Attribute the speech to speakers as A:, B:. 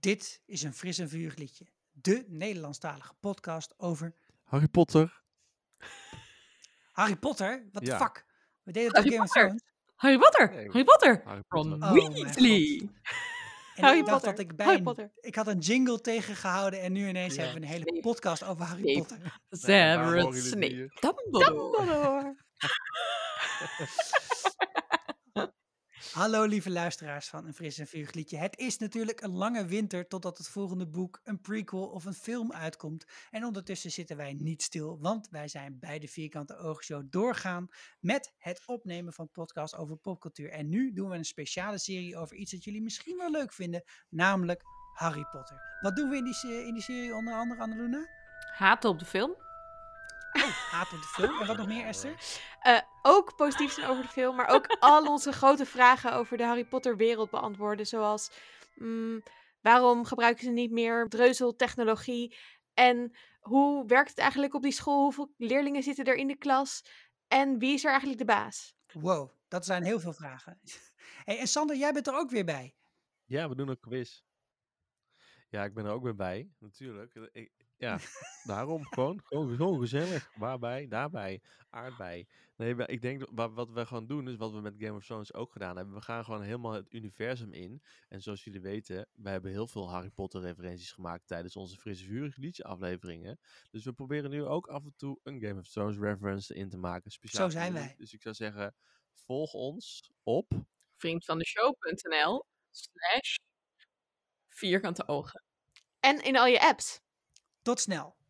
A: Dit is een fris en vurig liedje. De Nederlandstalige podcast over
B: Harry Potter.
A: Harry Potter. Wat de
B: Ja.
A: fuck? We deden het
C: Harry
A: bij Game of
C: Potter.
A: Thrones.
C: Harry Potter!
B: Nee,
C: Harry Potter!
B: Harry
C: Ron
B: Potter.
A: Oh mijn
C: Weasley!
A: En
C: Harry
A: ik dacht
C: Potter.
A: dat ik bij
C: Harry
A: een-
C: Potter.
A: Ik had een jingle tegengehouden en nu ineens
B: Ja.
A: hebben we een hele
C: Snape.
A: podcast over Harry
C: Snape.
A: Potter.
B: waarom horen
C: Severus
B: jullie eh?
C: Snape.
B: hier?
C: Dumbledore.
A: Hallo lieve luisteraars van Een Fris en Vurig Liedje. Het is natuurlijk een lange winter totdat het volgende boek, een prequel of een film uitkomt. En ondertussen zitten wij niet stil, want wij zijn bij de Vierkante Oogshow doorgaan met het opnemen van podcasts over popcultuur. En nu doen we een speciale serie over iets dat jullie misschien wel leuk vinden, namelijk Harry Potter. Wat doen we in die, se- in die serie onder andere, Annalena?
C: Haten op de film.
A: Haat Oh, op de film. En wat nog meer, Esther?
D: Eh, ook positief zijn over de film, maar ook al onze grote vragen over de Harry Potter wereld beantwoorden. Zoals mm, waarom gebruiken ze niet meer dreuzeltechnologie? En hoe werkt het eigenlijk op die school? Hoeveel leerlingen zitten er in de klas? En wie is er eigenlijk de baas?
A: Wow, dat zijn heel veel vragen. Hey, en Sander, jij bent er ook weer bij.
B: Ja, we doen een quiz. Ja, ik ben er ook weer bij, natuurlijk. Eh, ik- ja, daarom gewoon, gewoon, gewoon gezellig. Waarbij, daarbij, aardbei. Nee, maar ik denk dat wa- wat we gaan doen, is wat we met Game of Thrones ook gedaan hebben. We gaan gewoon helemaal het universum in. En zoals jullie weten, we hebben heel veel Harry Potter referenties gemaakt tijdens onze frisse vurig liedje afleveringen. Dus we proberen nu ook af en toe een Game of Thrones reference in te maken. Speciaal
A: Zo
B: voor
C: Ja,
A: zijn
B: jullie.
A: wij.
B: Dus ik zou zeggen, volg ons op
C: Vriend van de show.nl slash vierkante ogen.
D: En in al je apps.
A: Tot snel.